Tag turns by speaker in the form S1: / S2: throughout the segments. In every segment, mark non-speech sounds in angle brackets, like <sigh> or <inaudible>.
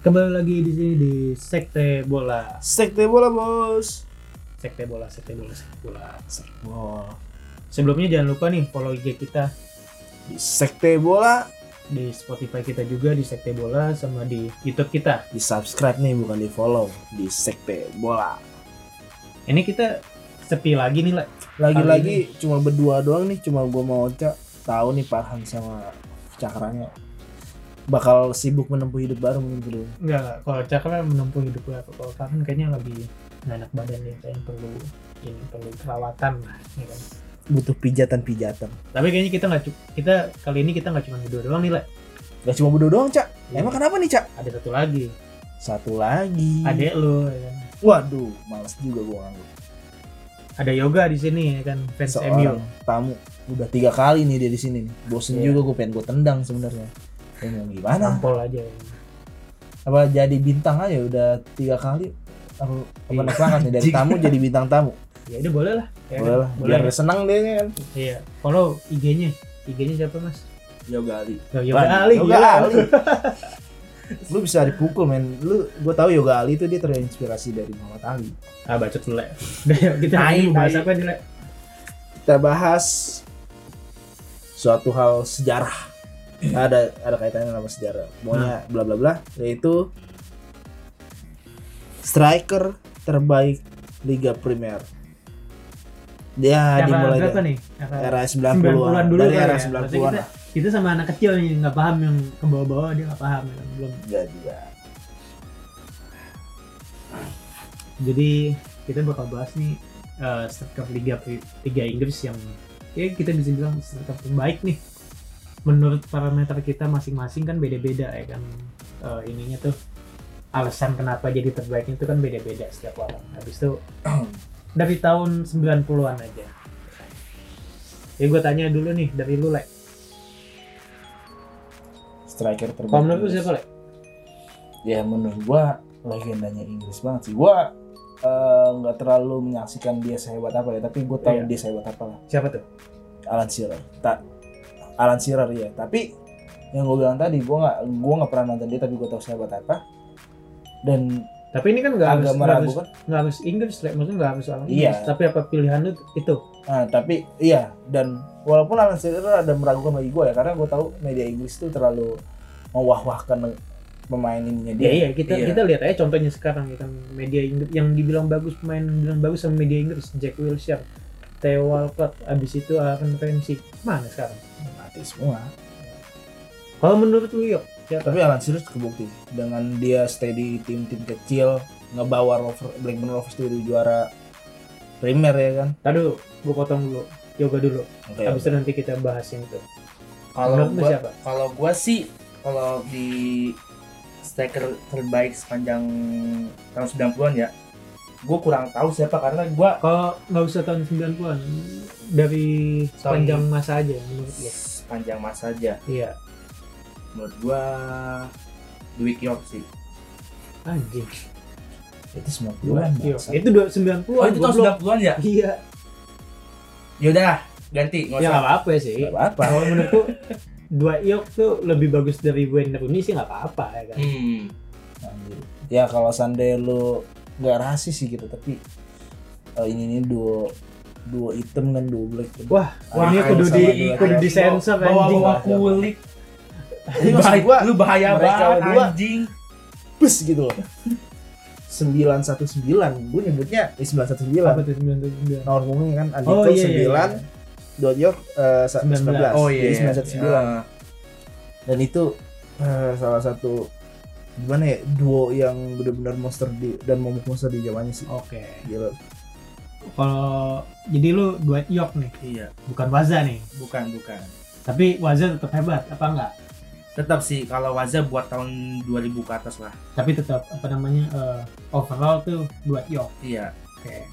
S1: Kembali lagi di sini di Sekte Bola.
S2: Sekte bola bos.
S1: Sekte Bola, Sekte Bola, Sekte Bola. Sekte-
S2: Wah.
S1: Sebelumnya jangan lupa nih follow IG kita
S2: Di sekte bola
S1: di Spotify kita juga di Sekte Bola sama di YouTube kita.
S2: di subscribe nih bukan di follow. Di sekte bola.
S1: Ini kita sepi lagi nih lah.
S2: Lagi-lagi cuma berdua doang nih. Cuma gue mau Oca tahu nih Farhan sama Cakranya bakal sibuk menempuh hidup baru mungkin dulu.
S1: Enggak, enggak. kalau Cakra menempuh hidup gue kalau Farhan kayaknya lagi nggak enak badan dia kayaknya perlu ini perlu perawatan lah ya kan.
S2: Butuh pijatan-pijatan.
S1: Tapi kayaknya kita nggak cu- kita kali ini kita nggak cuma berdua doang nih lah.
S2: Gak cuma berdua doang Cak. Emang kan? Hmm. kenapa nih Cak?
S1: Ada satu lagi,
S2: Iya. Satu lagi.
S1: adek lu ya kan.
S2: Waduh, males juga gue nganggur.
S1: Ada yoga di sini ya kan fans MU.
S2: Seorang tamu udah tiga kali nih dia di sini nih. Bosen
S1: Iya.
S2: juga gue pengen gue tendang sebenarnya. Ya, mau gimana?
S1: Nampol aja. Ya.
S2: apa jadi bintang aja udah tiga kali apa apa
S1: Iya.
S2: naik pangkat nih dari
S1: Anjing.
S2: tamu jadi bintang tamu
S1: ya udah boleh lah <laughs> ya kan?
S2: boleh lah
S1: boleh
S2: biar senang deh kan
S1: iya follow IG-nya IG-nya siapa mas
S2: yoga ali
S1: Yo, Yoga
S2: yoga ali
S1: Ali
S2: yoga
S1: gila. <laughs>
S2: ali lu bisa dipukul men lu gue tahu yoga ali itu dia terinspirasi dari Muhammad Ali
S1: ah bacot lu Le. <laughs> udah yuk, kita
S2: Tai,
S1: ini bahas
S2: tai.
S1: apa nih Le?
S2: kita bahas suatu hal sejarah ada ada kaitannya sama
S1: Nah.
S2: sejarah pokoknya bla bla bla yaitu striker terbaik Liga Primer dia
S1: Era
S2: dimulai
S1: berapa
S2: dari
S1: nih Era
S2: Nah, era 90-an,
S1: 90-an dulu kali
S2: dari era
S1: ya.
S2: 90-an
S1: Maksudnya kita sama anak kecil nih nggak paham yang ke bawah-bawah dia nggak paham ya kan? belum
S2: enggak juga
S1: jadi kita bakal bahas nih eh striker Liga Pri- Liga Inggris yang ya kita bisa bilang striker terbaik nih menurut parameter kita masing-masing kan beda-beda ya kan Eh, ininya tuh alasan kenapa jadi terbaiknya itu kan beda-beda setiap orang habis itu <clears throat> dari tahun 90-an aja ya gue tanya dulu nih dari lu lek
S2: striker terbaik
S1: kalau menurut lu
S2: Inggris.
S1: siapa lek
S2: ya menurut gua legendanya Inggris banget sih gua eh, nggak terlalu menyaksikan dia sehebat apa ya tapi gua tahu
S1: Iya.
S2: dia sehebat apa lah
S1: siapa tuh
S2: Alan Shearer. Ta Alan Shearer ya. Tapi yang gue bilang tadi, gue nggak gue nggak pernah nonton dia, tapi gue tahu sahabat apa. Dan
S1: tapi ini kan nggak harus
S2: agak
S1: nggak harus,
S2: meragukan.
S1: nggak harus Inggris lek maksudnya nggak harus orang
S2: Iya.
S1: Inggris tapi apa pilihan lu itu
S2: Nah, tapi iya. Dan walaupun Alan Shearer ada meragukan bagi gue ya, karena gue tahu media Inggris itu terlalu mewah-wahkan pemain ininya dia.
S1: Ya iya kita
S2: Iya.
S1: kita lihat aja contohnya sekarang kita media Inggris yang dibilang bagus pemain yang dibilang bagus sama media Inggris Jack Wilshere, Theo Walcott, abis itu Aaron Ramsey mana sekarang?
S2: Mati semua.
S1: Kalau menurut lu yuk siapa?
S2: Tapi Alan Shearer kebukti dengan dia stay di tim-tim kecil, ngebawa Rover Blackburn Rovers itu juara Premier ya kan.
S1: Tadu, gua potong dulu yoga dulu.
S2: Oke.
S1: Abis itu nanti kita bahas yang itu.
S3: Iya. Kalau
S1: Menurut lu
S3: gua,
S1: siapa?
S3: kalau gua sih kalau di striker terbaik sepanjang tahun 90-an ya, gua kurang tahu siapa karena gua
S1: Kalau nggak usah tahun 90-an dari
S3: Sorry.
S1: sepanjang masa aja menurut lu.
S3: sepanjang masa aja.
S1: Iya.
S3: Menurut gua Dwi Kior sih.
S1: Anjing.
S2: itu 90-an.
S1: Gila. Yo,
S2: bangsa.
S1: Itu dua- 90-an.
S3: Oh, itu
S1: goblok.
S3: tahun 90-an ya?
S1: Iya.
S3: Yaudah, ganti nggak
S1: Ya
S3: usah.
S1: nggak apa-apa sih.
S2: Nggak apa-apa.
S1: Kalau menurutku dua iok tuh lebih bagus dari Wayne Rooney sih nggak apa-apa ya kan.
S3: Hmm.
S2: Anjir. Ya kalau seandainya lu nggak rasis sih gitu, tapi eh, ini ini duo duo item kan duo black.
S3: <laughs>
S1: Wah, wah, ini
S2: Anjing
S1: kudu
S2: sama
S1: di-
S2: duo
S1: kudu
S2: item.
S1: di- disensor,
S3: bawa
S1: anjing.
S3: bawa kulik.
S2: Jadi maksud
S3: Bahaya-
S2: gua
S3: lu bahaya
S2: mereka
S3: banget
S2: berdua.
S3: anjing.
S2: bus gitu loh. 919 gue nyebutnya eh, 919
S1: Apa tuh 99?
S2: nomor punggungnya kan Andito
S1: Oh, iya, iya,
S2: 9 Dot York eh, sa-
S1: 19.
S2: 19
S3: Oh iya.
S2: Jadi 919
S3: Ah,
S2: dan itu eh, salah satu gimana ya duo yang benar-benar monster di dan momok monster di zamannya sih
S1: Oke.
S2: gila
S1: Kalau jadi lu dua iok nih,
S3: Iya,
S1: bukan Waza nih.
S3: bukan bukan.
S1: Tapi Waza tetap hebat apa enggak?
S3: Tetap sih kalau Waza buat tahun 2000 ke atas lah.
S1: Tapi tetap apa namanya eh, overall tuh dua iok.
S3: Iya.
S1: Oke.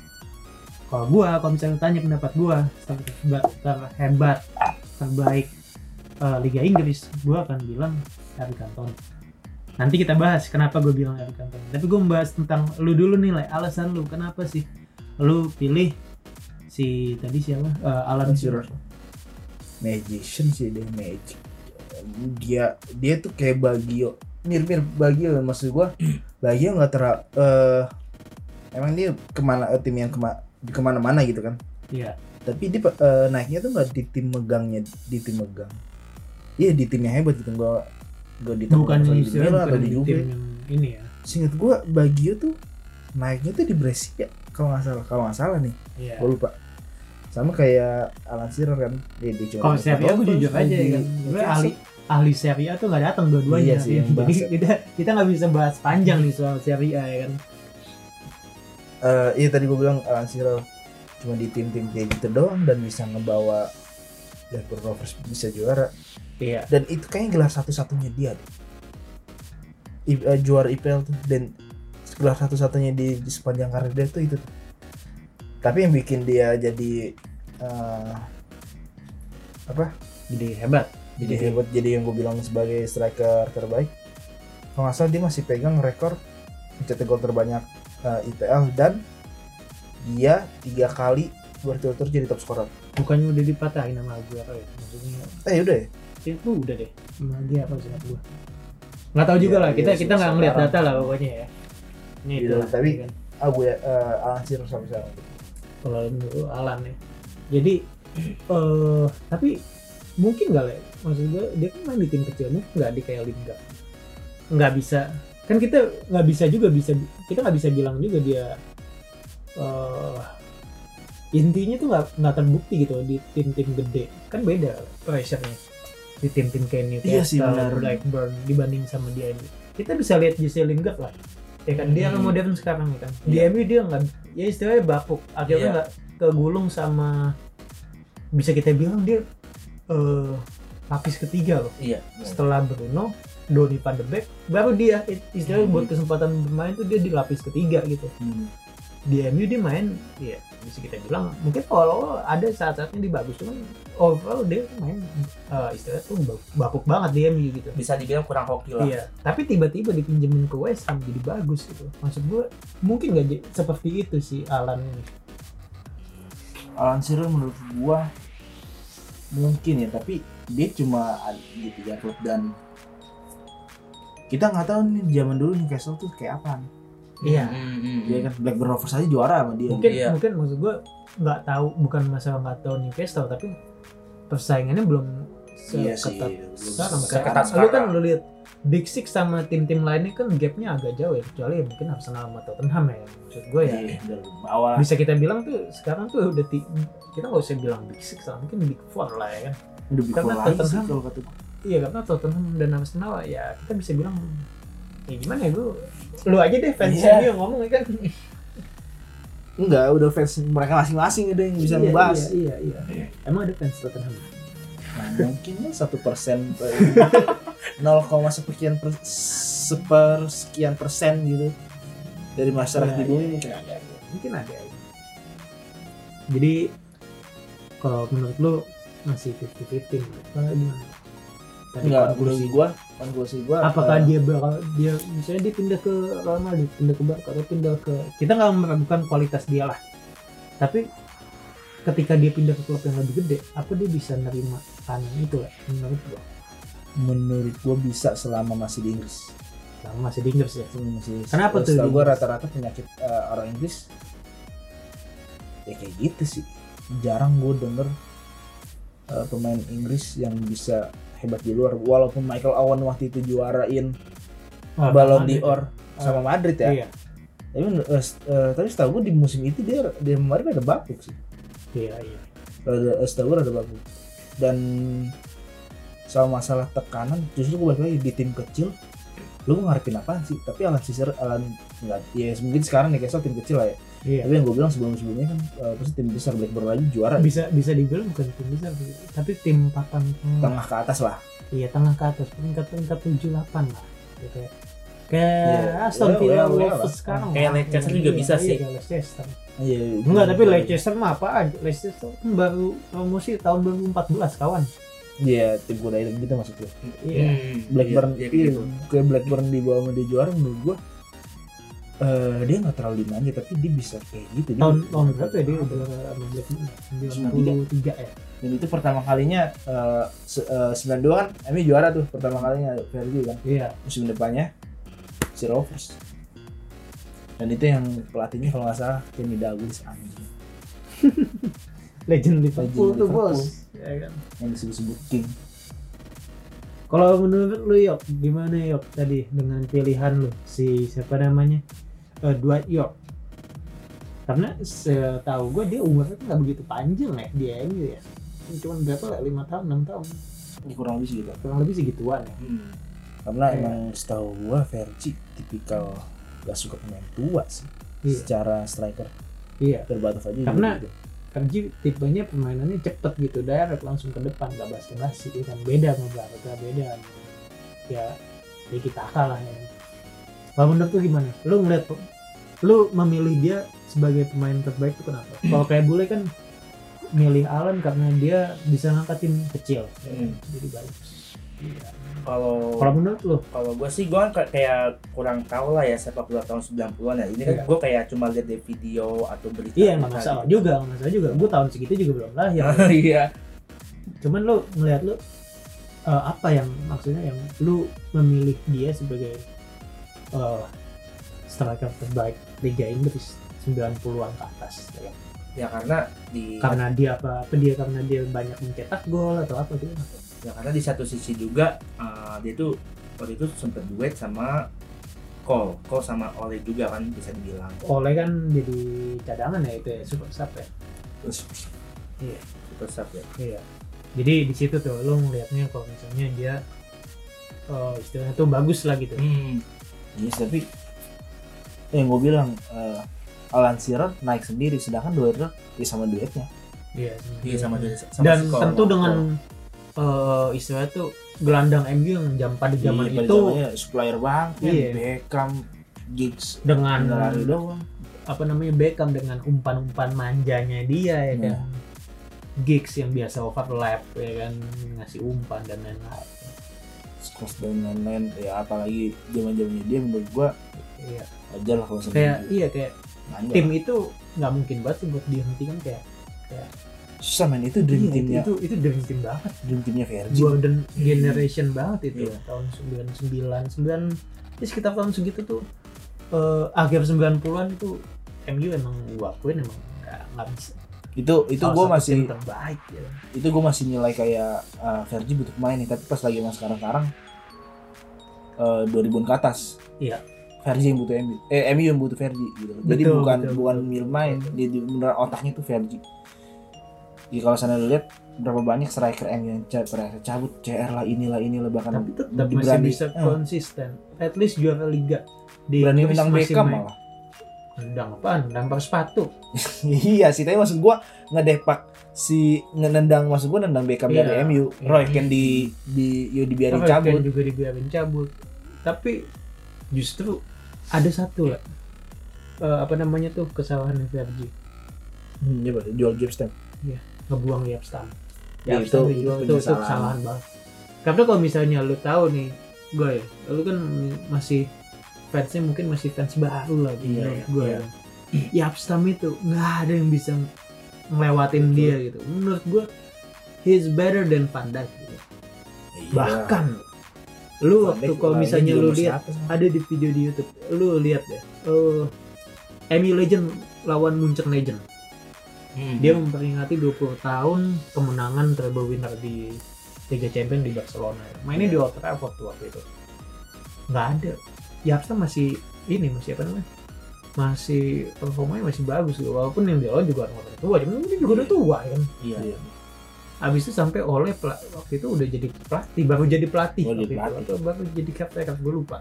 S1: Kalau gua kalau misalnya tanya pendapat gua terhebat, terhebat terbaik eh, Liga Inggris, gua akan bilang Harry Cantona. Nanti kita bahas kenapa gue bilang Eric Cantona. Tapi gue membahas tentang lu dulu nih, Le. Alasan lu kenapa sih lu pilih si tadi siapa? Eh, Alan Shearer.
S2: magician sih dia magic dia dia tuh kayak Bagio mirip-mirip Bagio maksud
S1: <clears throat>
S2: gua Bagio nggak ter eh, emang dia kemana eh, tim yang kema, di kemana-mana gitu kan
S1: Iya.
S2: tapi dia eh, naiknya tuh nggak di tim megangnya di tim megang iya di timnya hebat gitu gua gua di tim
S1: Bukan
S2: atau
S1: di
S2: di Milan
S1: bukan
S2: atau di
S1: di
S2: Juve
S1: tim yang ini ya.
S2: singkat gua Bagio tuh naiknya tuh di Brescia kalau nggak salah kalau nggak salah nih
S1: Iya.
S2: gue lupa sama kayak Alan Shearer kan dia dia cuma
S1: Kalau Serie A gue jujur aja
S2: lagi-
S1: ya. Gue
S2: lagi-
S1: ahli ahli Serie A tuh nggak datang dua-duanya.
S2: Iya sih,
S1: <laughs>
S2: yang
S1: Jadi
S2: bahas-
S1: kita kita nggak bisa bahas panjang nih soal Serie A ya kan.
S2: Eh, iya tadi gue bilang Alan Shearer cuma di tim-tim kayak gitu doang dan bisa ngebawa Blackburn Rovers bisa juara
S1: Iya.
S2: dan itu kayaknya gelar satu-satunya dia deh. I- eh, juara IPL tuh dan gelar satu-satunya di, di sepanjang karir dia tuh itu tuh. tapi yang bikin dia jadi eh, apa
S1: Jadi hebat.
S2: jadi
S1: Iya.
S3: Gitu.
S2: hebat jadi yang gue bilang sebagai striker terbaik kalau nggak salah dia masih pegang rekor mencetak gol terbanyak eh, IPL dan dia tiga kali berturut-turut jadi top scorer
S1: Bukannya udah dipatahin sama Aguero ya? Maksudnya
S2: eh udah ya
S1: ya tuh udah deh. Sama dia apa sih gua? Nggak tahu juga
S2: Iya,
S1: lah. Kita
S2: iya,
S1: kita nggak
S2: sekarang.
S1: ngeliat data lah pokoknya ya. Ini
S2: Iya,
S1: itulah,
S2: tapi-
S1: ya kan.
S2: ah gue eh, Alan Shearer sampai sekarang
S1: kalau menurut Alan ya. Jadi eh tapi mungkin nggak lah. Maksud gue dia kan main di tim kecil, mungkin nggak di kayak Liga. Nggak bisa. Kan kita nggak bisa juga bisa kita nggak bisa bilang juga dia eh intinya tuh nggak nggak terbukti gitu di tim-tim gede. Kan beda pressure-nya di tim-tim kayak
S2: Iya sih,
S1: Newcastle,
S2: benar.
S1: Blackburn dibanding sama dia ini. Kita bisa lihat Jesse Lingard lah. Ya kan dia
S2: Hmm.
S1: kan modern sekarang ya kan. Di
S2: Iya.
S1: MU dia nggak ya istilahnya bapuk akhirnya
S2: Iya.
S1: nggak kegulung sama bisa kita bilang dia eh lapis ketiga loh
S3: Iya.
S1: setelah Bruno Donny van de Beek baru dia i- istilahnya
S3: Hmm.
S1: buat kesempatan bermain tuh dia di lapis ketiga gitu
S2: Hmm.
S1: di MU dia main ya bisa kita bilang mungkin kalau ada saat-saatnya dia bagus cuman overall dia main eh, istilahnya tuh ba- bapuk banget di MU gitu
S3: Bisa dibilang kurang hoki
S2: Gitu
S3: lah.
S1: Iya, tapi tiba-tiba dipinjemin ke West Ham jadi bagus gitu. Maksud gue mungkin nggak j- seperti itu sih Alan ini.
S2: Alan Shearer menurut gua mungkin ya tapi dia cuma ada di tiga klub dan kita nggak tahu nih zaman dulu Newcastle tuh kayak apa
S1: Iya.
S3: Hmm, hmm,
S2: dia
S3: hmm.
S2: kan Blackburn Rovers aja juara sama dia
S1: Mungkin
S3: Iya.
S1: mungkin maksud gue nggak tahu bukan masalah nggak tahu Newcastle tapi persaingannya belum
S2: Iya
S1: seketat
S2: sih.
S1: sekarang.
S2: Seketat
S1: Karena Lu
S3: sekarang.
S1: kan lu lihat Big Six sama tim-tim lainnya kan gapnya agak jauh ya kecuali ya mungkin Arsenal sama Tottenham ya maksud gue ya.
S2: Iya, dari bawah.
S1: Bisa kita bilang tuh sekarang tuh udah ti- kita nggak usah bilang Big Six lah mungkin Big Four lah ya kan.
S2: Udah bikin
S1: Karena
S2: lagi sih
S1: Tottenham-
S2: kalau kata gua.
S1: Iya karena Tottenham dan Arsenal ya kita bisa bilang ya gimana ya lu lu aja deh fans
S2: Iya.
S1: MU yang ngomong ya kan
S2: Enggak, udah fans mereka masing-masing ada yang bisa
S1: Iya,
S2: ngebahas.
S1: iya, iya, iya. emang ada fans Tottenham
S2: Nah, mungkin lah satu persen, <laughs> nol koma sekian per- sepersekian persen gitu dari masyarakat
S1: Iya,
S2: di bumi.
S1: iya, iya, ada, ada. mungkin ada ya. jadi kalau menurut lu masih 50-50 apa gimana tadi konklusi
S2: Enggak, konklusi gua, konklusi gua.
S1: apakah
S2: eh,
S1: dia bakal dia misalnya dia pindah ke Real Madrid pindah ke Barca atau pindah ke kita nggak meragukan kualitas dia lah tapi ketika dia pindah ke klub yang lebih gede apa dia bisa nerima tanah itu lah menurut gua
S2: menurut gua bisa selama masih di Inggris.
S1: sama masih di Inggris ya
S2: Selama Hmm, masih di Inggris.
S1: Kenapa tuh
S2: Setahu
S1: di
S2: gua
S1: Inggris?
S2: rata-rata penyakit eh, orang Inggris ya kayak gitu sih. Jarang gua denger eh, pemain Inggris yang bisa hebat di luar walaupun Michael Owen waktu itu juarain
S3: Oh,
S1: Wah,
S2: Ballon
S1: Madrid.
S2: d'Or sama Madrid ya.
S1: iya
S2: Tapi menur- eh, s- eh, tapi setahu gua di musim itu dia dia kemarin ada bakuk sih.
S1: iya iya
S2: Rada, eh, setahu gue rada bagus dan sama masalah tekanan justru gue balik lagi di tim kecil lu mau ngarepin apaan sih tapi Alan Caesar Alan nggak ya mungkin sekarang nih kesel tim kecil lah ya
S1: iya
S2: tapi yang gue bilang sebelum sebelumnya kan eh, pasti tim besar Blackburn aja juara
S1: bisa bisa dibilang bukan tim besar sih, tapi tim papan tengah
S2: tengah ke atas lah
S1: iya tengah ke atas peringkat peringkat tujuh delapan lah gitu kayak kayak
S2: Iya,
S1: Aston
S2: iya,
S1: Villa
S2: iya, iya
S1: Wolves
S2: lah.
S1: sekarang
S3: Kayak
S1: lah.
S3: Leicester juga
S1: Iya,
S3: bisa
S1: iya,
S3: sih.
S1: kayak Leicester
S2: iya
S1: ya. Enggak, tapi Leicester mah apa aja? Leicester kan baru promosi tahun 2014 kawan.
S2: Iya, tim kuda hitam gitu maksudnya.
S1: Iya.
S2: Blackburn,
S3: Iya, iya,
S2: iya,
S3: gitu.
S2: kayak Blackburn di bawah sama dia juara menurut gua eh, dia nggak terlalu dimanja tapi dia bisa kayak gitu. Dia-
S1: Tahun tahun berapa ya dia udah sama Blackburn? 93 ya.
S2: Dan itu pertama kalinya eh, se- eh, 92 kan, Emi juara tuh pertama kalinya Verdi kan
S1: Iya.
S2: musim depannya si Rovers. Dan itu yang pelatihnya kalau nggak salah Kenny Dalglish anjing.
S1: Legend Liverpool
S2: Legend
S1: tuh
S2: Liverpool.
S1: bos. Iya kan.
S2: yang disebut-sebut King.
S1: Kalau menurut lu Yok, gimana Yok tadi dengan pilihan lu si siapa namanya Eh, Dwight York? Karena setahu gue dia umurnya tuh nggak begitu panjang ya di MU ya. Cuma berapa lah? Lima tahun, enam tahun,
S3: Ya, kurang lebih gitu.
S1: kurang lebih segituan ya.
S3: Hmm.
S2: Karena
S1: Iya.
S2: emang setahu gua Verdi tipikal gak suka pemain tua sih.
S1: Iya.
S2: Secara striker
S1: Iya.
S2: terbatas aja.
S1: Karena-
S2: gitu. <laughs>
S1: Kerji tipenya permainannya cepet gitu, direct langsung ke depan, nggak basa-basi gitu kan. Beda sama Barca, beda. sama- Ya, ya kita kalah ya. Kalau menurut lu gimana? Lu ngeliat kok, lu memilih dia sebagai pemain terbaik itu <clears throat> kenapa? Kalau kayak bule kan milih Alan karena dia bisa ngangkat tim kecil, ya kan? jadi bagus. Iya.
S3: Kalau
S1: Kalau menurut lu,
S3: kalau gue sih gue kan kayak kurang tahu lah ya sepak bola tahun 90-an ya ini kan
S1: Iya.
S3: gue kayak cuma lihat di video atau berita
S1: iya nggak
S3: berita
S1: masalah
S3: gitu.
S1: juga, nggak masalah juga. Gue tahun segitu juga belum lahir.
S3: iya
S1: cuman lu ngelihat lu eh, apa yang maksudnya yang lu memilih dia sebagai eh striker terbaik Liga Inggris 90-an ke atas ya.
S3: ya karena di
S1: karena dia apa, apa dia karena dia banyak mencetak gol atau apa gitu
S3: ya karena di satu sisi juga eh, dia tuh waktu itu sempet duet sama Cole Cole sama Ole juga kan bisa
S2: Iya.
S3: dibilang
S1: Oleh kan jadi cadangan ya itu ya super sub ya
S3: terus
S1: Iya.
S3: terus apa ya
S1: iya jadi di situ tuh lu ngelihatnya kalau misalnya dia eh, istilahnya tuh bagus lah gitu
S3: hmm.
S2: Yes, tapi yang gue bilang eh, Alan Shearer naik sendiri sedangkan duetnya ya sama duetnya.
S1: iya
S3: dia sama dia sama
S1: dan
S3: si Cole.
S1: tentu dengan eh, istilahnya tuh gelandang MU yang jam pada zaman
S2: Iya, pada
S1: itu
S2: zamannya supplier bank,
S1: Iya.
S2: Beckham, Giggs,
S1: dengan
S2: lari doang.
S1: apa namanya Beckham dengan umpan-umpan manjanya dia ya kan gigs yang biasa overlap ya kan ngasih umpan dan lain-lain Iya,
S2: Skos dan lain-lain ya apalagi zaman zamannya dia menurut gua
S1: iya
S2: aja lah kalau sendiri.
S1: kayak iya kayak
S2: Manja.
S1: tim itu nggak mungkin banget sih buat dihentikan kayak
S2: susah men itu dream
S1: iya,
S2: teamnya
S1: itu itu dream team banget
S2: dream teamnya Virgil.
S1: golden generation banget itu
S2: Iya.
S1: tahun 99 9 ya sekitar tahun segitu tuh eh, akhir 90-an itu MU emang gua akuin emang nggak nggak bisa
S2: Itu itu
S1: Salah
S2: gua
S1: satu
S2: masih
S1: tim terbaik ya.
S2: itu gua masih nilai kayak ah, Virgil butuh pemain nih tapi pas lagi mas sekarang-sekarang eh 2000-an ke atas.
S1: Iya.
S2: Virgil yang butuh MU, eh MU yang butuh Virgil gitu. Jadi
S1: Betul,
S2: bukan
S1: betul,
S2: bukan
S1: betul, Hmm.
S2: mil main,
S1: betul.
S2: dia dia beneran otaknya tuh Virgil. Jadi kalau sana lu lihat berapa banyak striker MU yang ca- striker cabut, CR lah inilah inilah bahkan
S1: tapi tetap
S2: lebih
S1: masih
S2: Kan berani.
S1: bisa
S2: Eh.
S1: konsisten at least juara liga di
S2: berani
S1: Inggris
S2: menang
S1: masih
S2: Beckham
S1: main.
S2: malah. <laughs>
S1: nendang apaan lempar sepatu
S2: iya sih, tapi maksud gua ngedepak si nendang maksud gua nendang Beckham
S1: Iya,
S2: dari MU.
S1: iya.
S2: Roy Keane di di yo dibiarin
S1: Tapi
S2: cabut.
S1: kan juga dibiarin cabut tapi justru ada satu lah eh, apa namanya tuh kesalahan Verdi
S2: Hmm, iya, Pak. jual Jepsen.
S1: ngebuang Yapstam
S2: Ya,
S1: Yapstam
S2: itu-
S1: dijual itu, itu
S2: itu penyesalan.
S1: kesalahan banget karena kalau misalnya lu tahu nih gue lu kan masih fansnya mungkin masih fans baru lagi
S2: Iya,
S1: menurut gue
S2: iya.
S1: Yapstam itu nggak ada yang bisa ngelewatin dia gitu menurut gue he's better than Van Dijk gitu.
S2: Iya.
S3: Iya.
S1: bahkan lu waktu kalau misalnya lu lihat
S3: kan.
S1: ada di video di YouTube lu lihat deh eh MU Legend lawan Munchen Legend
S3: Hmm.
S1: dia memperingati 20 tahun kemenangan treble winner di Liga Champions di Barcelona mainnya
S3: Iya.
S1: di Old Trafford tuh waktu itu nggak ada Yapsta masih ini masih apa namanya masih performanya masih bagus gitu. walaupun yang dia lawan juga orang orang tua cuman dia juga udah tua kan
S3: iya
S2: Iya.
S1: Habis itu sampai oleh pela- waktu itu udah jadi pelatih, baru jadi pelatih,
S2: Oh,
S1: waktu
S2: jadi
S1: itu.
S2: pelatih.
S1: atau baru jadi kapten, gue lupa.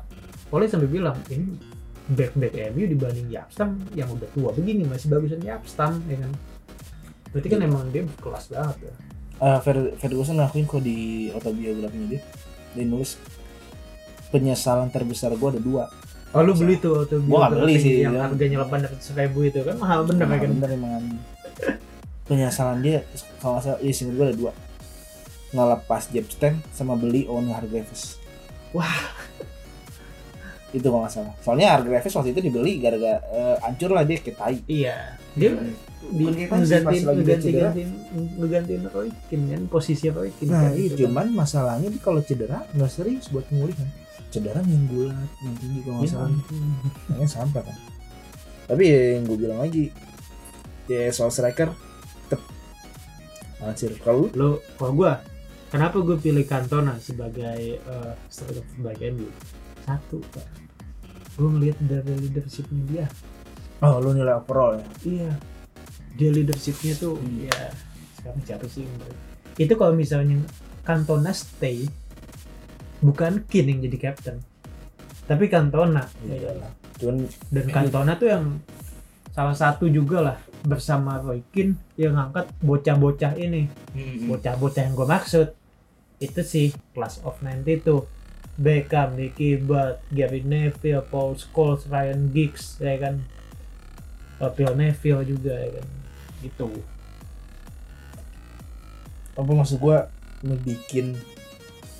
S1: Oleh sampai bilang ini back back MU dibanding Yapstam yang udah tua begini masih bagusan Yapstam ya kan. Berarti kan
S2: Iya.
S1: emang dia kelas banget ya.
S2: Eh, Fer- Ferguson ngakuin kok di autobiografinya dia. Dia nulis penyesalan terbesar gua ada dua.
S1: Oh lu beli tuh waktu
S2: Gua nggak beli sih,
S1: yang
S2: iya.
S1: harganya delapan ratus ribu itu kan mahal
S3: Nah,
S1: bener ya
S2: Emang
S1: kan.
S3: iya,
S2: bener emang. Penyesalan dia kalau nggak salah ya singkat gua ada dua.
S3: ngelepas Jebsten sama beli Owen Hargreaves. Wah. itu kalau nggak salah. Soalnya Hargreaves waktu itu dibeli gara-gara eh, hancur lah dia kayak tai.
S1: Iya. Dia di
S3: Bukan kayak Panji,
S1: ngegantiin
S3: pas lagi dia
S1: ngegantiin
S3: cedera.
S1: ngegantiin ngegantiin Roy Keane kan posisi Roy Keane
S2: ya. Nah,
S1: kan,
S2: iya,
S1: gitu kan.
S2: cuman masalahnya dia kalau cedera nggak serius buat pemulihan. Cedera main bulat, main tinggi kalau nggak
S1: Ya
S2: salah.
S1: ampun.
S2: Makanya sampah kan. Tapi ya yang gue bilang lagi, ya soal striker, tetep Anjir, kalau lu
S1: Lo kalau gua kenapa gua pilih Cantona sebagai eh, striker terbaik MU? Satu, Pak. Gua ngelihat dari leadershipnya dia.
S2: oh lu nilai overall ya.
S1: Iya. Dia leadershipnya tuh
S3: Hmm.
S1: ya sekarang jatuh sih menurut. Itu kalau misalnya Cantona stay bukan Kin yang jadi captain. Tapi Cantona.
S2: Iya lah. Cuman
S1: dan Cantona tuh yang salah satu juga lah bersama Roy Keane yang ngangkat bocah-bocah ini
S3: Hmm,
S1: bocah-bocah yang gue maksud itu sih class of 90 tuh Beckham, Nicky Butt, Gary Neville, Paul Scholes, Ryan Giggs ya kan Eh, Phil Neville juga ya kan gitu
S2: apa maksud gua ngebikin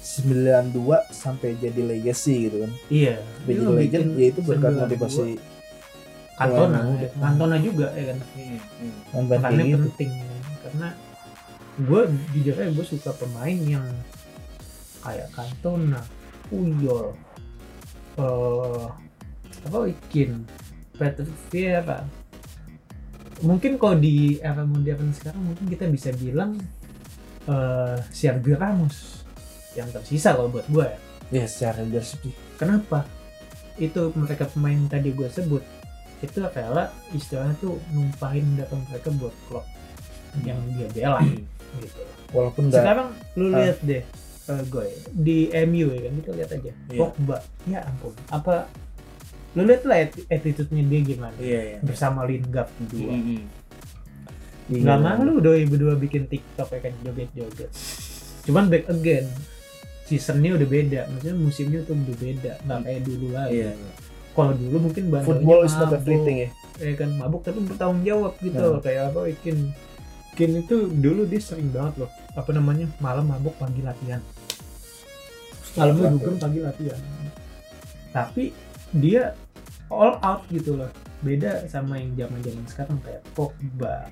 S2: 92 sampai jadi legacy gitu kan.
S1: iya
S2: Sampai
S1: Dia
S2: jadi
S1: bikin
S2: legend ya itu berkat
S1: 92.
S2: motivasi
S1: Cantona
S2: Pemain muda.
S1: ya. Cantona juga ya kan
S3: Hmm,
S2: Tanpa
S1: makanya
S2: kayak gitu.
S1: penting ya. karena gue jujur aja gue suka pemain yang kayak Cantona, Puyol, eh apa Ikin, Patrick Vieira. Mungkin kalau di era modern sekarang mungkin kita bisa bilang eh Sergio Ramos yang tersisa kalau buat gue ya.
S2: Ya secara leadership sih.
S1: Kenapa? Itu mereka pemain yang tadi gue sebut itu rela istilahnya tuh numpahin data mereka buat klub yang dia bela
S3: <clears throat>
S1: gitu.
S2: Walaupun nggak
S1: Sekarang lu
S2: Ah.
S1: lihat deh gue di MU ya kan kita lihat aja
S3: Iya.
S1: Pogba ya ampun apa lu lihat lah atti- attitude-nya dia gimana
S3: Iya iya.
S1: bersama Lingard berdua
S3: Mm-mm.
S2: iya.
S1: nggak malu 2002 bikin TikTok ya kan joget-joget cuman back again seasonnya udah beda maksudnya musimnya tuh udah beda nggak kayak dulu lagi
S3: Iya iya.
S1: kalau dulu mungkin bandelnya
S2: Football is not
S1: mabok,
S2: everything ya.
S1: ya kan mabuk tapi bertanggung jawab gitu
S2: Nah.
S1: kayak apa Kin Kin itu dulu dia sering banget loh apa namanya malam mabuk pagi latihan malamnya dugem pagi latihan tapi dia all out gitu loh beda sama yang zaman zaman sekarang kayak Pogba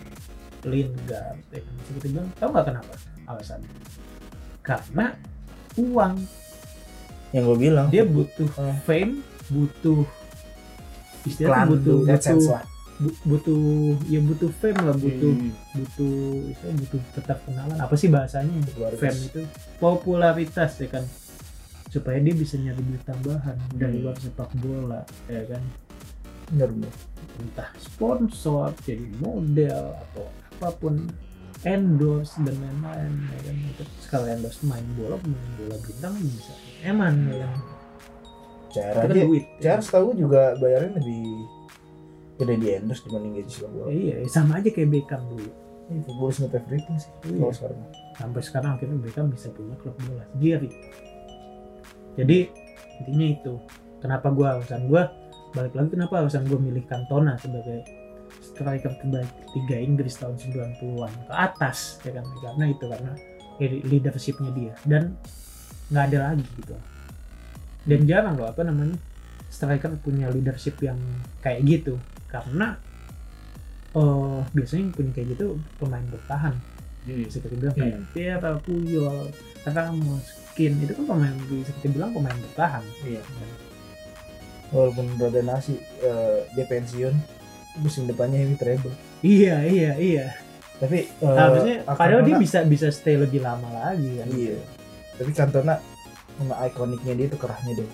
S1: Lingard ya kan Bisa kita bilang tau nggak kenapa alasannya karena uang
S2: Yang gue bilang.
S1: dia butuh
S2: Eh.
S1: fame butuh istilahnya
S2: Iklan,
S1: butuh
S2: AdSense
S1: butuh
S2: lah.
S1: bu- butuh ya butuh fame lah butuh
S3: Mm.
S1: butuh istilahnya butuh tetap kenalan apa sih bahasanya
S2: Popularitas.
S1: fame itu popularitas ya kan supaya dia bisa nyari duit tambahan dari
S3: Hmm.
S1: luar sepak bola ya kan
S2: Bener, bener.
S1: entah sponsor jadi model atau apapun endorse dan lain-lain ya kan itu sekali endorse main bola main bola bintang bisa eman ya kan itu
S2: Cara
S1: kan
S2: dia,
S1: duit ya
S2: cara setahu gue juga bayarnya lebih gede di endorse dibanding gaji sepak bola.
S1: Iya, sama aja kayak Beckham dulu.
S2: Ini football is not everything sih.
S1: Iya.
S2: Kalau sekarang.
S1: Sampai sekarang akhirnya Beckham bisa punya klub bola sendiri. Jadi intinya itu. Kenapa gua alasan gua balik lagi kenapa alasan gua milih Cantona sebagai striker terbaik tiga Inggris tahun 90-an ke atas ya kan karena itu karena lead- leadershipnya dia dan nggak ada lagi gitu dan jarang loh apa namanya striker punya leadership yang kayak gitu karena eh biasanya yang punya kayak gitu pemain bertahan
S3: Mm.
S1: bisa kita bilang kayak Vera, Puyol, Ramos, Kin itu kan pemain bisa kita bilang pemain bertahan.
S3: Iya.
S2: Walaupun Roda Nasi eh, dia pensiun, musim depannya ini treble.
S1: Iya iya iya.
S2: Tapi eh,
S1: Harusnya
S2: Cantona-
S1: padahal dia bisa bisa stay lebih lama lagi kan.
S2: Iya. Tapi Cantona nama ikoniknya dia itu kerahnya dia.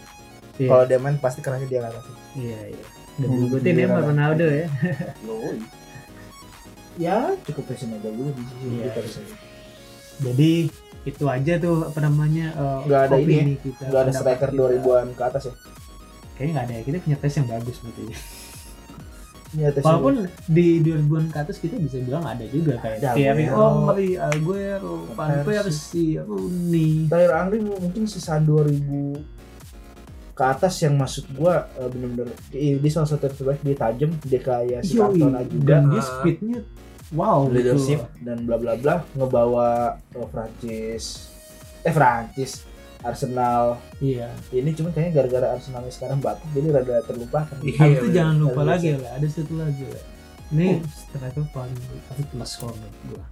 S1: Iya.
S2: Kalau dia main pasti kerahnya dia nggak kasih.
S1: Iya iya. Dan
S2: Hmm,
S1: diikutin
S2: iya
S1: ya sama
S2: lah.
S1: Ronaldo ya.
S3: Yoi.
S2: Ya cukup passion aja dulu di sini.
S1: Iya.
S2: kita bisa.
S1: Jadi itu aja tuh apa namanya eh,
S2: Nggak ada
S1: opini
S2: ini ya.
S1: kita
S2: Nggak ada
S1: pendapat
S2: striker
S1: kita.
S2: 2000-an ke atas ya.
S1: kayaknya nggak ada ya kita punya tes yang bagus berarti
S2: Ini atas
S1: walaupun di 2000-an ke atas kita bisa bilang ada juga kayak
S2: Ada,
S1: Thierry
S2: Aguero.
S1: Henry, Ya, Aguero, Van Persie, Rooney
S2: Terakhir Angri mungkin sisa 2000 ke atas yang maksud gua eh, bener-bener dia dia salah satu yang terbaik dia tajam dia kayak si
S1: Yoi, Ah.
S2: Cantona juga
S1: dan dia speednya wow
S2: leadership
S1: gitu.
S2: dan bla bla bla ngebawa eh, Prancis eh Prancis Arsenal
S1: Iya.
S4: ini cuman kayaknya gara-gara Arsenalnya sekarang batuk jadi rada terlupakan
S1: Iya,
S4: Tapi
S1: itu jangan lupa lagi lah, ada satu lagi lah. Ini striker paling Oh. tapi kelas skor menurut gua.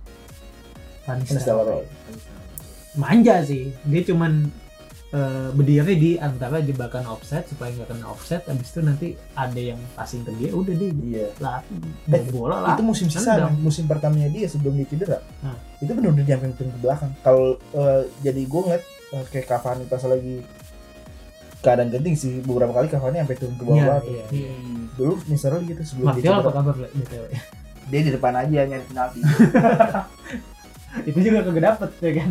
S1: Panis
S4: Enes Delaroy.
S1: Manja sih, dia cuman eh, berdiri di antara jebakan offset supaya nggak kena offset. Abis itu nanti ada yang passing ke dia, udah dia
S4: iya
S1: lah
S4: Eh,
S1: bola lah. kan Nah.
S4: itu musim sisa
S1: Tendang.
S4: musim pertamanya dia sebelum dia cedera
S1: Hah.
S4: itu benar-benar jumping turun ke belakang kalau eh, jadi gue ngeliat eh, kayak Cavani pas lagi keadaan genting sih beberapa kali Cavani sampai turun ke bawah
S1: Iya,
S4: banget.
S1: iya.
S2: Hmm.
S4: dulu misalnya gitu sebelum dia
S1: Martial
S4: cedera
S1: apa kabar Le? BTW?
S2: dia di depan aja nyari
S1: <laughs>
S2: penalti
S1: itu juga kagak dapet ya kan.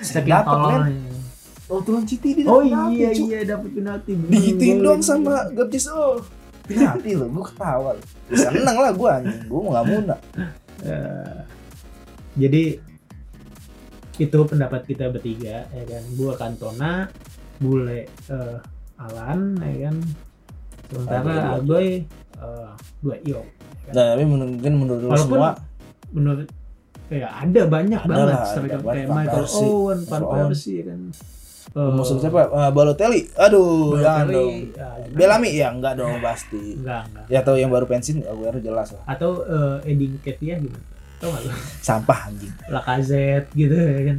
S1: Saking
S4: Dapet, men.
S1: tololnya.
S4: oh turun City dia
S1: Oh
S4: dapat penalti,
S1: iya
S4: cu.
S1: iya dapet penalti.
S4: digituin
S1: Bener.
S4: doang sama Gaptis oh
S2: penalti loh gue ketawa loh. Ya, seneng lah gue anjing gue nggak muna
S1: Eh, jadi itu pendapat kita bertiga ya kan gua Kantona bule eh, Alan ya kan sementara
S2: Agoy
S1: Agoy eh, dua Iyo
S2: nah tapi menurut- mungkin menurut lu
S1: Walaupun
S2: semua
S1: menurut ya ada banyak
S2: Ada
S1: banget
S2: lah, ada
S1: striker
S2: banget.
S1: kayak
S2: Van
S1: Michael
S2: Persie.
S1: Owen, Van
S2: Michael Owen.
S1: Persie ya kan Eh,
S2: musuh siapa Eh, Balotelli aduh
S1: Balotelli,
S2: jangan dong
S1: ya, gimana?
S2: Bellamy ya enggak dong pasti
S1: enggak enggak
S2: ya atau yang baru pensiun Aguero jelas lah
S1: atau eh, Eddie Nketiah gimana tau nggak lu
S2: sampah anjing
S1: Lacazette gitu ya kan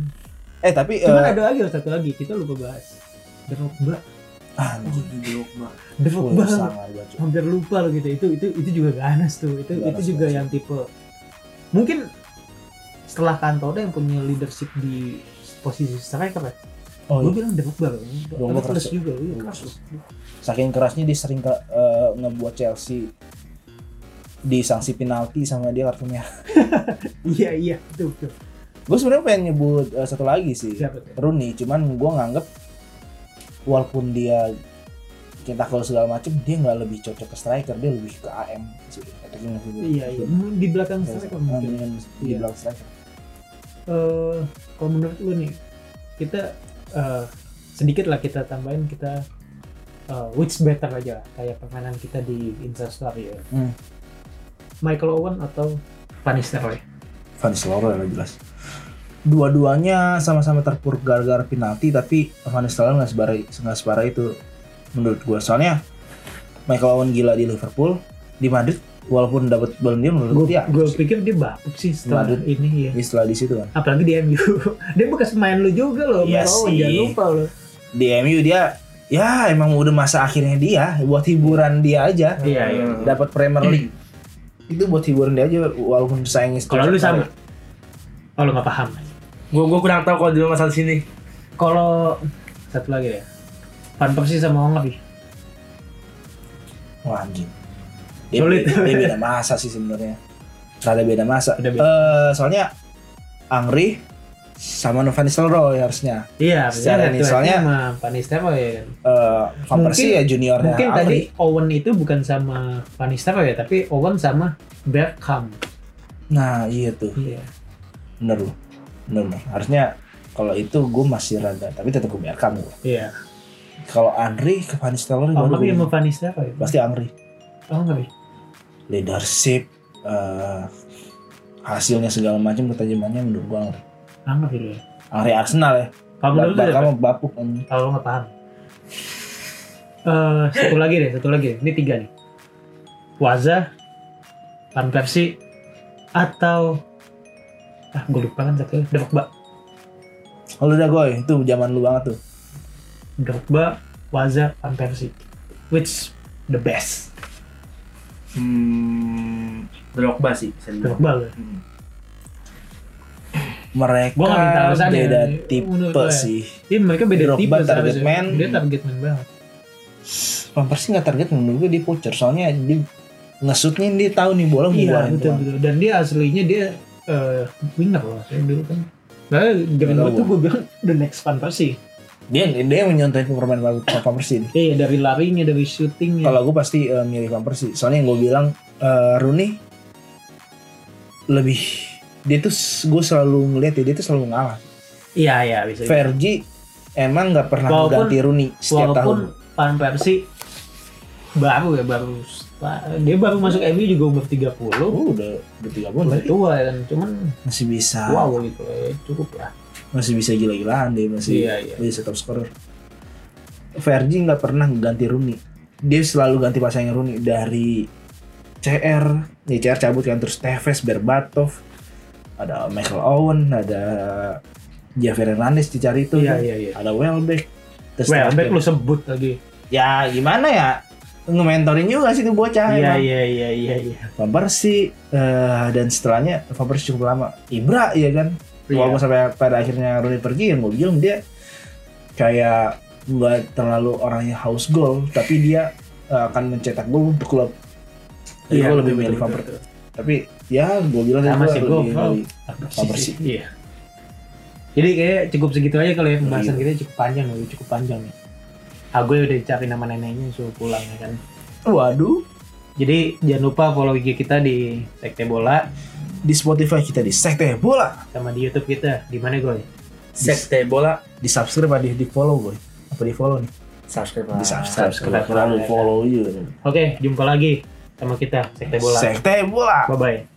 S2: eh tapi
S1: cuman
S2: eh,
S1: ada lagi satu lagi kita lupa bahas Drogba
S2: anjing
S1: Drogba
S2: sangat baca
S1: hampir lupa loh gitu itu itu itu juga ganas tuh itu
S2: Ganas,
S1: itu juga
S2: ganas.
S1: yang tipe mungkin setelah Kantona yang punya leadership di posisi striker ya
S4: oh
S1: gue
S4: iya.
S1: bilang Drogba loh Tapi
S2: Drogba
S1: keras
S2: keras.
S1: juga loh iya,
S2: Drogba
S1: keras
S2: keras.
S1: loh.
S2: saking kerasnya dia sering ke- eh, ngebuat Chelsea disangsi penalti sama dia kartu merah
S1: <laughs> iya iya itu itu
S2: gue sebenarnya pengen nyebut eh, satu lagi sih
S1: siapa tuh
S2: Rooney cuman gue nganggep walaupun dia cetak gol segala macem dia nggak lebih cocok ke striker dia lebih ke AM sih attacking midfielder.
S1: iya iya Hmm, di belakang
S2: Iya,
S1: striker
S2: nah,
S1: mungkin
S2: dengan di
S1: Iya.
S2: belakang striker
S1: Eh, kalau menurut lu nih kita eh, sedikit lah kita tambahin kita eh, which better aja lah, kayak permainan kita di Instastory ya
S2: Hmm.
S1: Michael Owen atau Van Nistelrooy
S2: Van Nistelrooy lah jelas dua-duanya sama-sama terpuruk gara-gara penalti tapi Van Nistelrooy nggak separah nggak separah itu menurut gue soalnya Michael Owen gila di Liverpool di Madrid walaupun dapat Ballon d'Or menurut
S1: gue
S2: dia
S1: Iya, pikir dia bapuk sih setelah
S2: Madrid.
S1: ini ya
S2: dia setelah di situ kan
S1: apalagi di MU <laughs> dia bekas pemain lu juga loh
S2: Iya
S1: Mbak Owen,
S2: sih.
S1: jangan lupa lo
S2: di MU dia ya emang udah masa akhirnya dia buat hiburan dia aja
S1: Iya, iya.
S2: dapat Premier League itu buat hiburan dia aja walaupun sayangnya
S1: kalau lu sama kalau Oh, nggak paham
S3: Gue gue kurang tahu kalau di masalah sini.
S1: kalau satu lagi ya Van Persie sama Ongap
S2: wah anjing dia,
S1: Sulit.
S2: beda, dia beda masa sih sebenarnya rada beda masa
S1: Beda beda.
S2: Eh, soalnya Angri sama Van Nistelrooy harusnya
S1: iya
S2: Secara
S1: bener,
S2: ini, soalnya-
S1: sama Van Nistelrooy ya kan.
S2: Eh, Van
S1: Mungkin-
S2: Persie ya juniornya
S1: mungkin tadi
S2: Angri
S1: Owen itu bukan sama Van Nistelrooy ya tapi Owen sama Beckham
S2: nah iya tuh
S1: iya
S2: bener loh bener, bener. harusnya kalau itu gue masih rada tapi tetap gue biarkan gue
S1: iya
S2: kalau Angri ke Van Nistelrooy baru
S1: Ongap sama
S2: gua-
S1: ya? Van Nistelrooy
S2: pasti Angri
S1: Ongap ya?
S2: leadership eh, hasilnya segala macam ketajamannya menurut gua Angri
S1: Ongap ya lu ya
S2: Angri Arsenal ya
S1: kalau menurut lu
S2: bakal bapuk anjing.
S1: kalau lo nggak paham. Eh, satu lagi deh, satu lagi. deh. Ini tiga nih. Waza, Van Persie, atau ah gue lupa kan satu Drogba,
S2: kalau udah goy itu zaman lu banget tuh
S1: Drogba, Waza, Van Persie. Which the best?
S3: Hmm, Drogba sih. bisa dibilang.
S1: Drogba lo.
S3: Hmm.
S2: mereka
S1: Gua nggak minta alasannya,
S2: beda
S1: menurut
S2: tipe
S1: gua ya.
S2: sih
S1: Iya mereka beda
S2: Drogba
S1: tipe
S2: target
S1: seharusnya.
S2: man.
S1: Dia target man banget.
S2: Van Persie nggak target menurut gua dia voucher soalnya dia ngesutnya dia tahu nih bola mau
S1: Iya
S2: keluarin
S1: betul
S2: kemana.
S1: betul. Dan dia aslinya dia eh winner loh. Saya dulu kan. Nah, dengan
S2: Nggak tahu
S1: itu gue bilang the next Van Persie.
S2: dia dia yang menyontohin permainan Van Persie nih.
S1: Iya dari larinya, dari syutingnya.
S2: kalau gue pasti eh, milih Van Persie soalnya yang gue bilang eh, Rooney lebih dia tuh gue selalu ngeliat ya, dia tuh selalu ngalah
S1: Iya iya bisa.
S2: Vergi emang nggak pernah
S1: Walaupun-
S2: ganti Rooney setiap tahun.
S1: walaupun Van Persie baru ya baru sta- dia baru masuk MU juga umur 30
S2: Oh, Ah. udah udah tiga bulan
S1: udah
S2: berarti
S1: tua ya kan cuman
S2: masih bisa.
S1: wow gitu ya cukup lah
S2: masih bisa gila-gilaan dia masih
S3: Iya, iya.
S2: bisa top scorer Vergi nggak pernah ganti Rooney dia selalu ganti pasangnya Rooney dari CR ya CR cabut kan terus Tevez Berbatov ada Michael Owen ada Javier Hernandez dicari itu
S1: Iya
S2: kan.
S1: iya iya.
S2: ada Welbeck terus
S1: Well, back
S2: terakhir-
S1: lu sebut lagi.
S2: ya gimana ya ngementorin juga sih tuh
S1: Iya
S2: bocah Ah, emang.
S1: iya iya iya iya.
S2: Van Persie eh, dan setelahnya Van Persie cukup lama Ibra ya kan walaupun
S1: Iya.
S2: sampai pada akhirnya Rooney pergi yang gue bilang dia kayak nggak terlalu orangnya house goal tapi dia eh, akan mencetak gol untuk klub Jadi gue lebih milih Van Persie tapi ya gue bilang
S1: Sama
S2: gua
S1: sih, gua
S2: lebih-
S1: Van
S2: lebih- Sama Persi.
S1: Iya. Jadi kayak cukup segitu aja kali ya pembahasan
S2: Iya.
S1: kita cukup panjang loh, cukup panjang nih. Ah, gue udah dicari nama neneknya suruh pulang ya kan.
S2: waduh
S1: Jadi jangan lupa follow IG kita di Sekte Bola
S2: di Spotify kita di sekte bola
S1: sama di YouTube kita. Di mana gue?
S3: Sekte bola
S2: di subscribe apa di, di follow boy apa di follow nih
S3: subscribe
S2: di subscribe
S1: subscribe.
S2: subscribe follow juga
S1: Oke, jumpa lagi sama kita Sekte Bola.
S2: sekte bola
S1: Bye bye.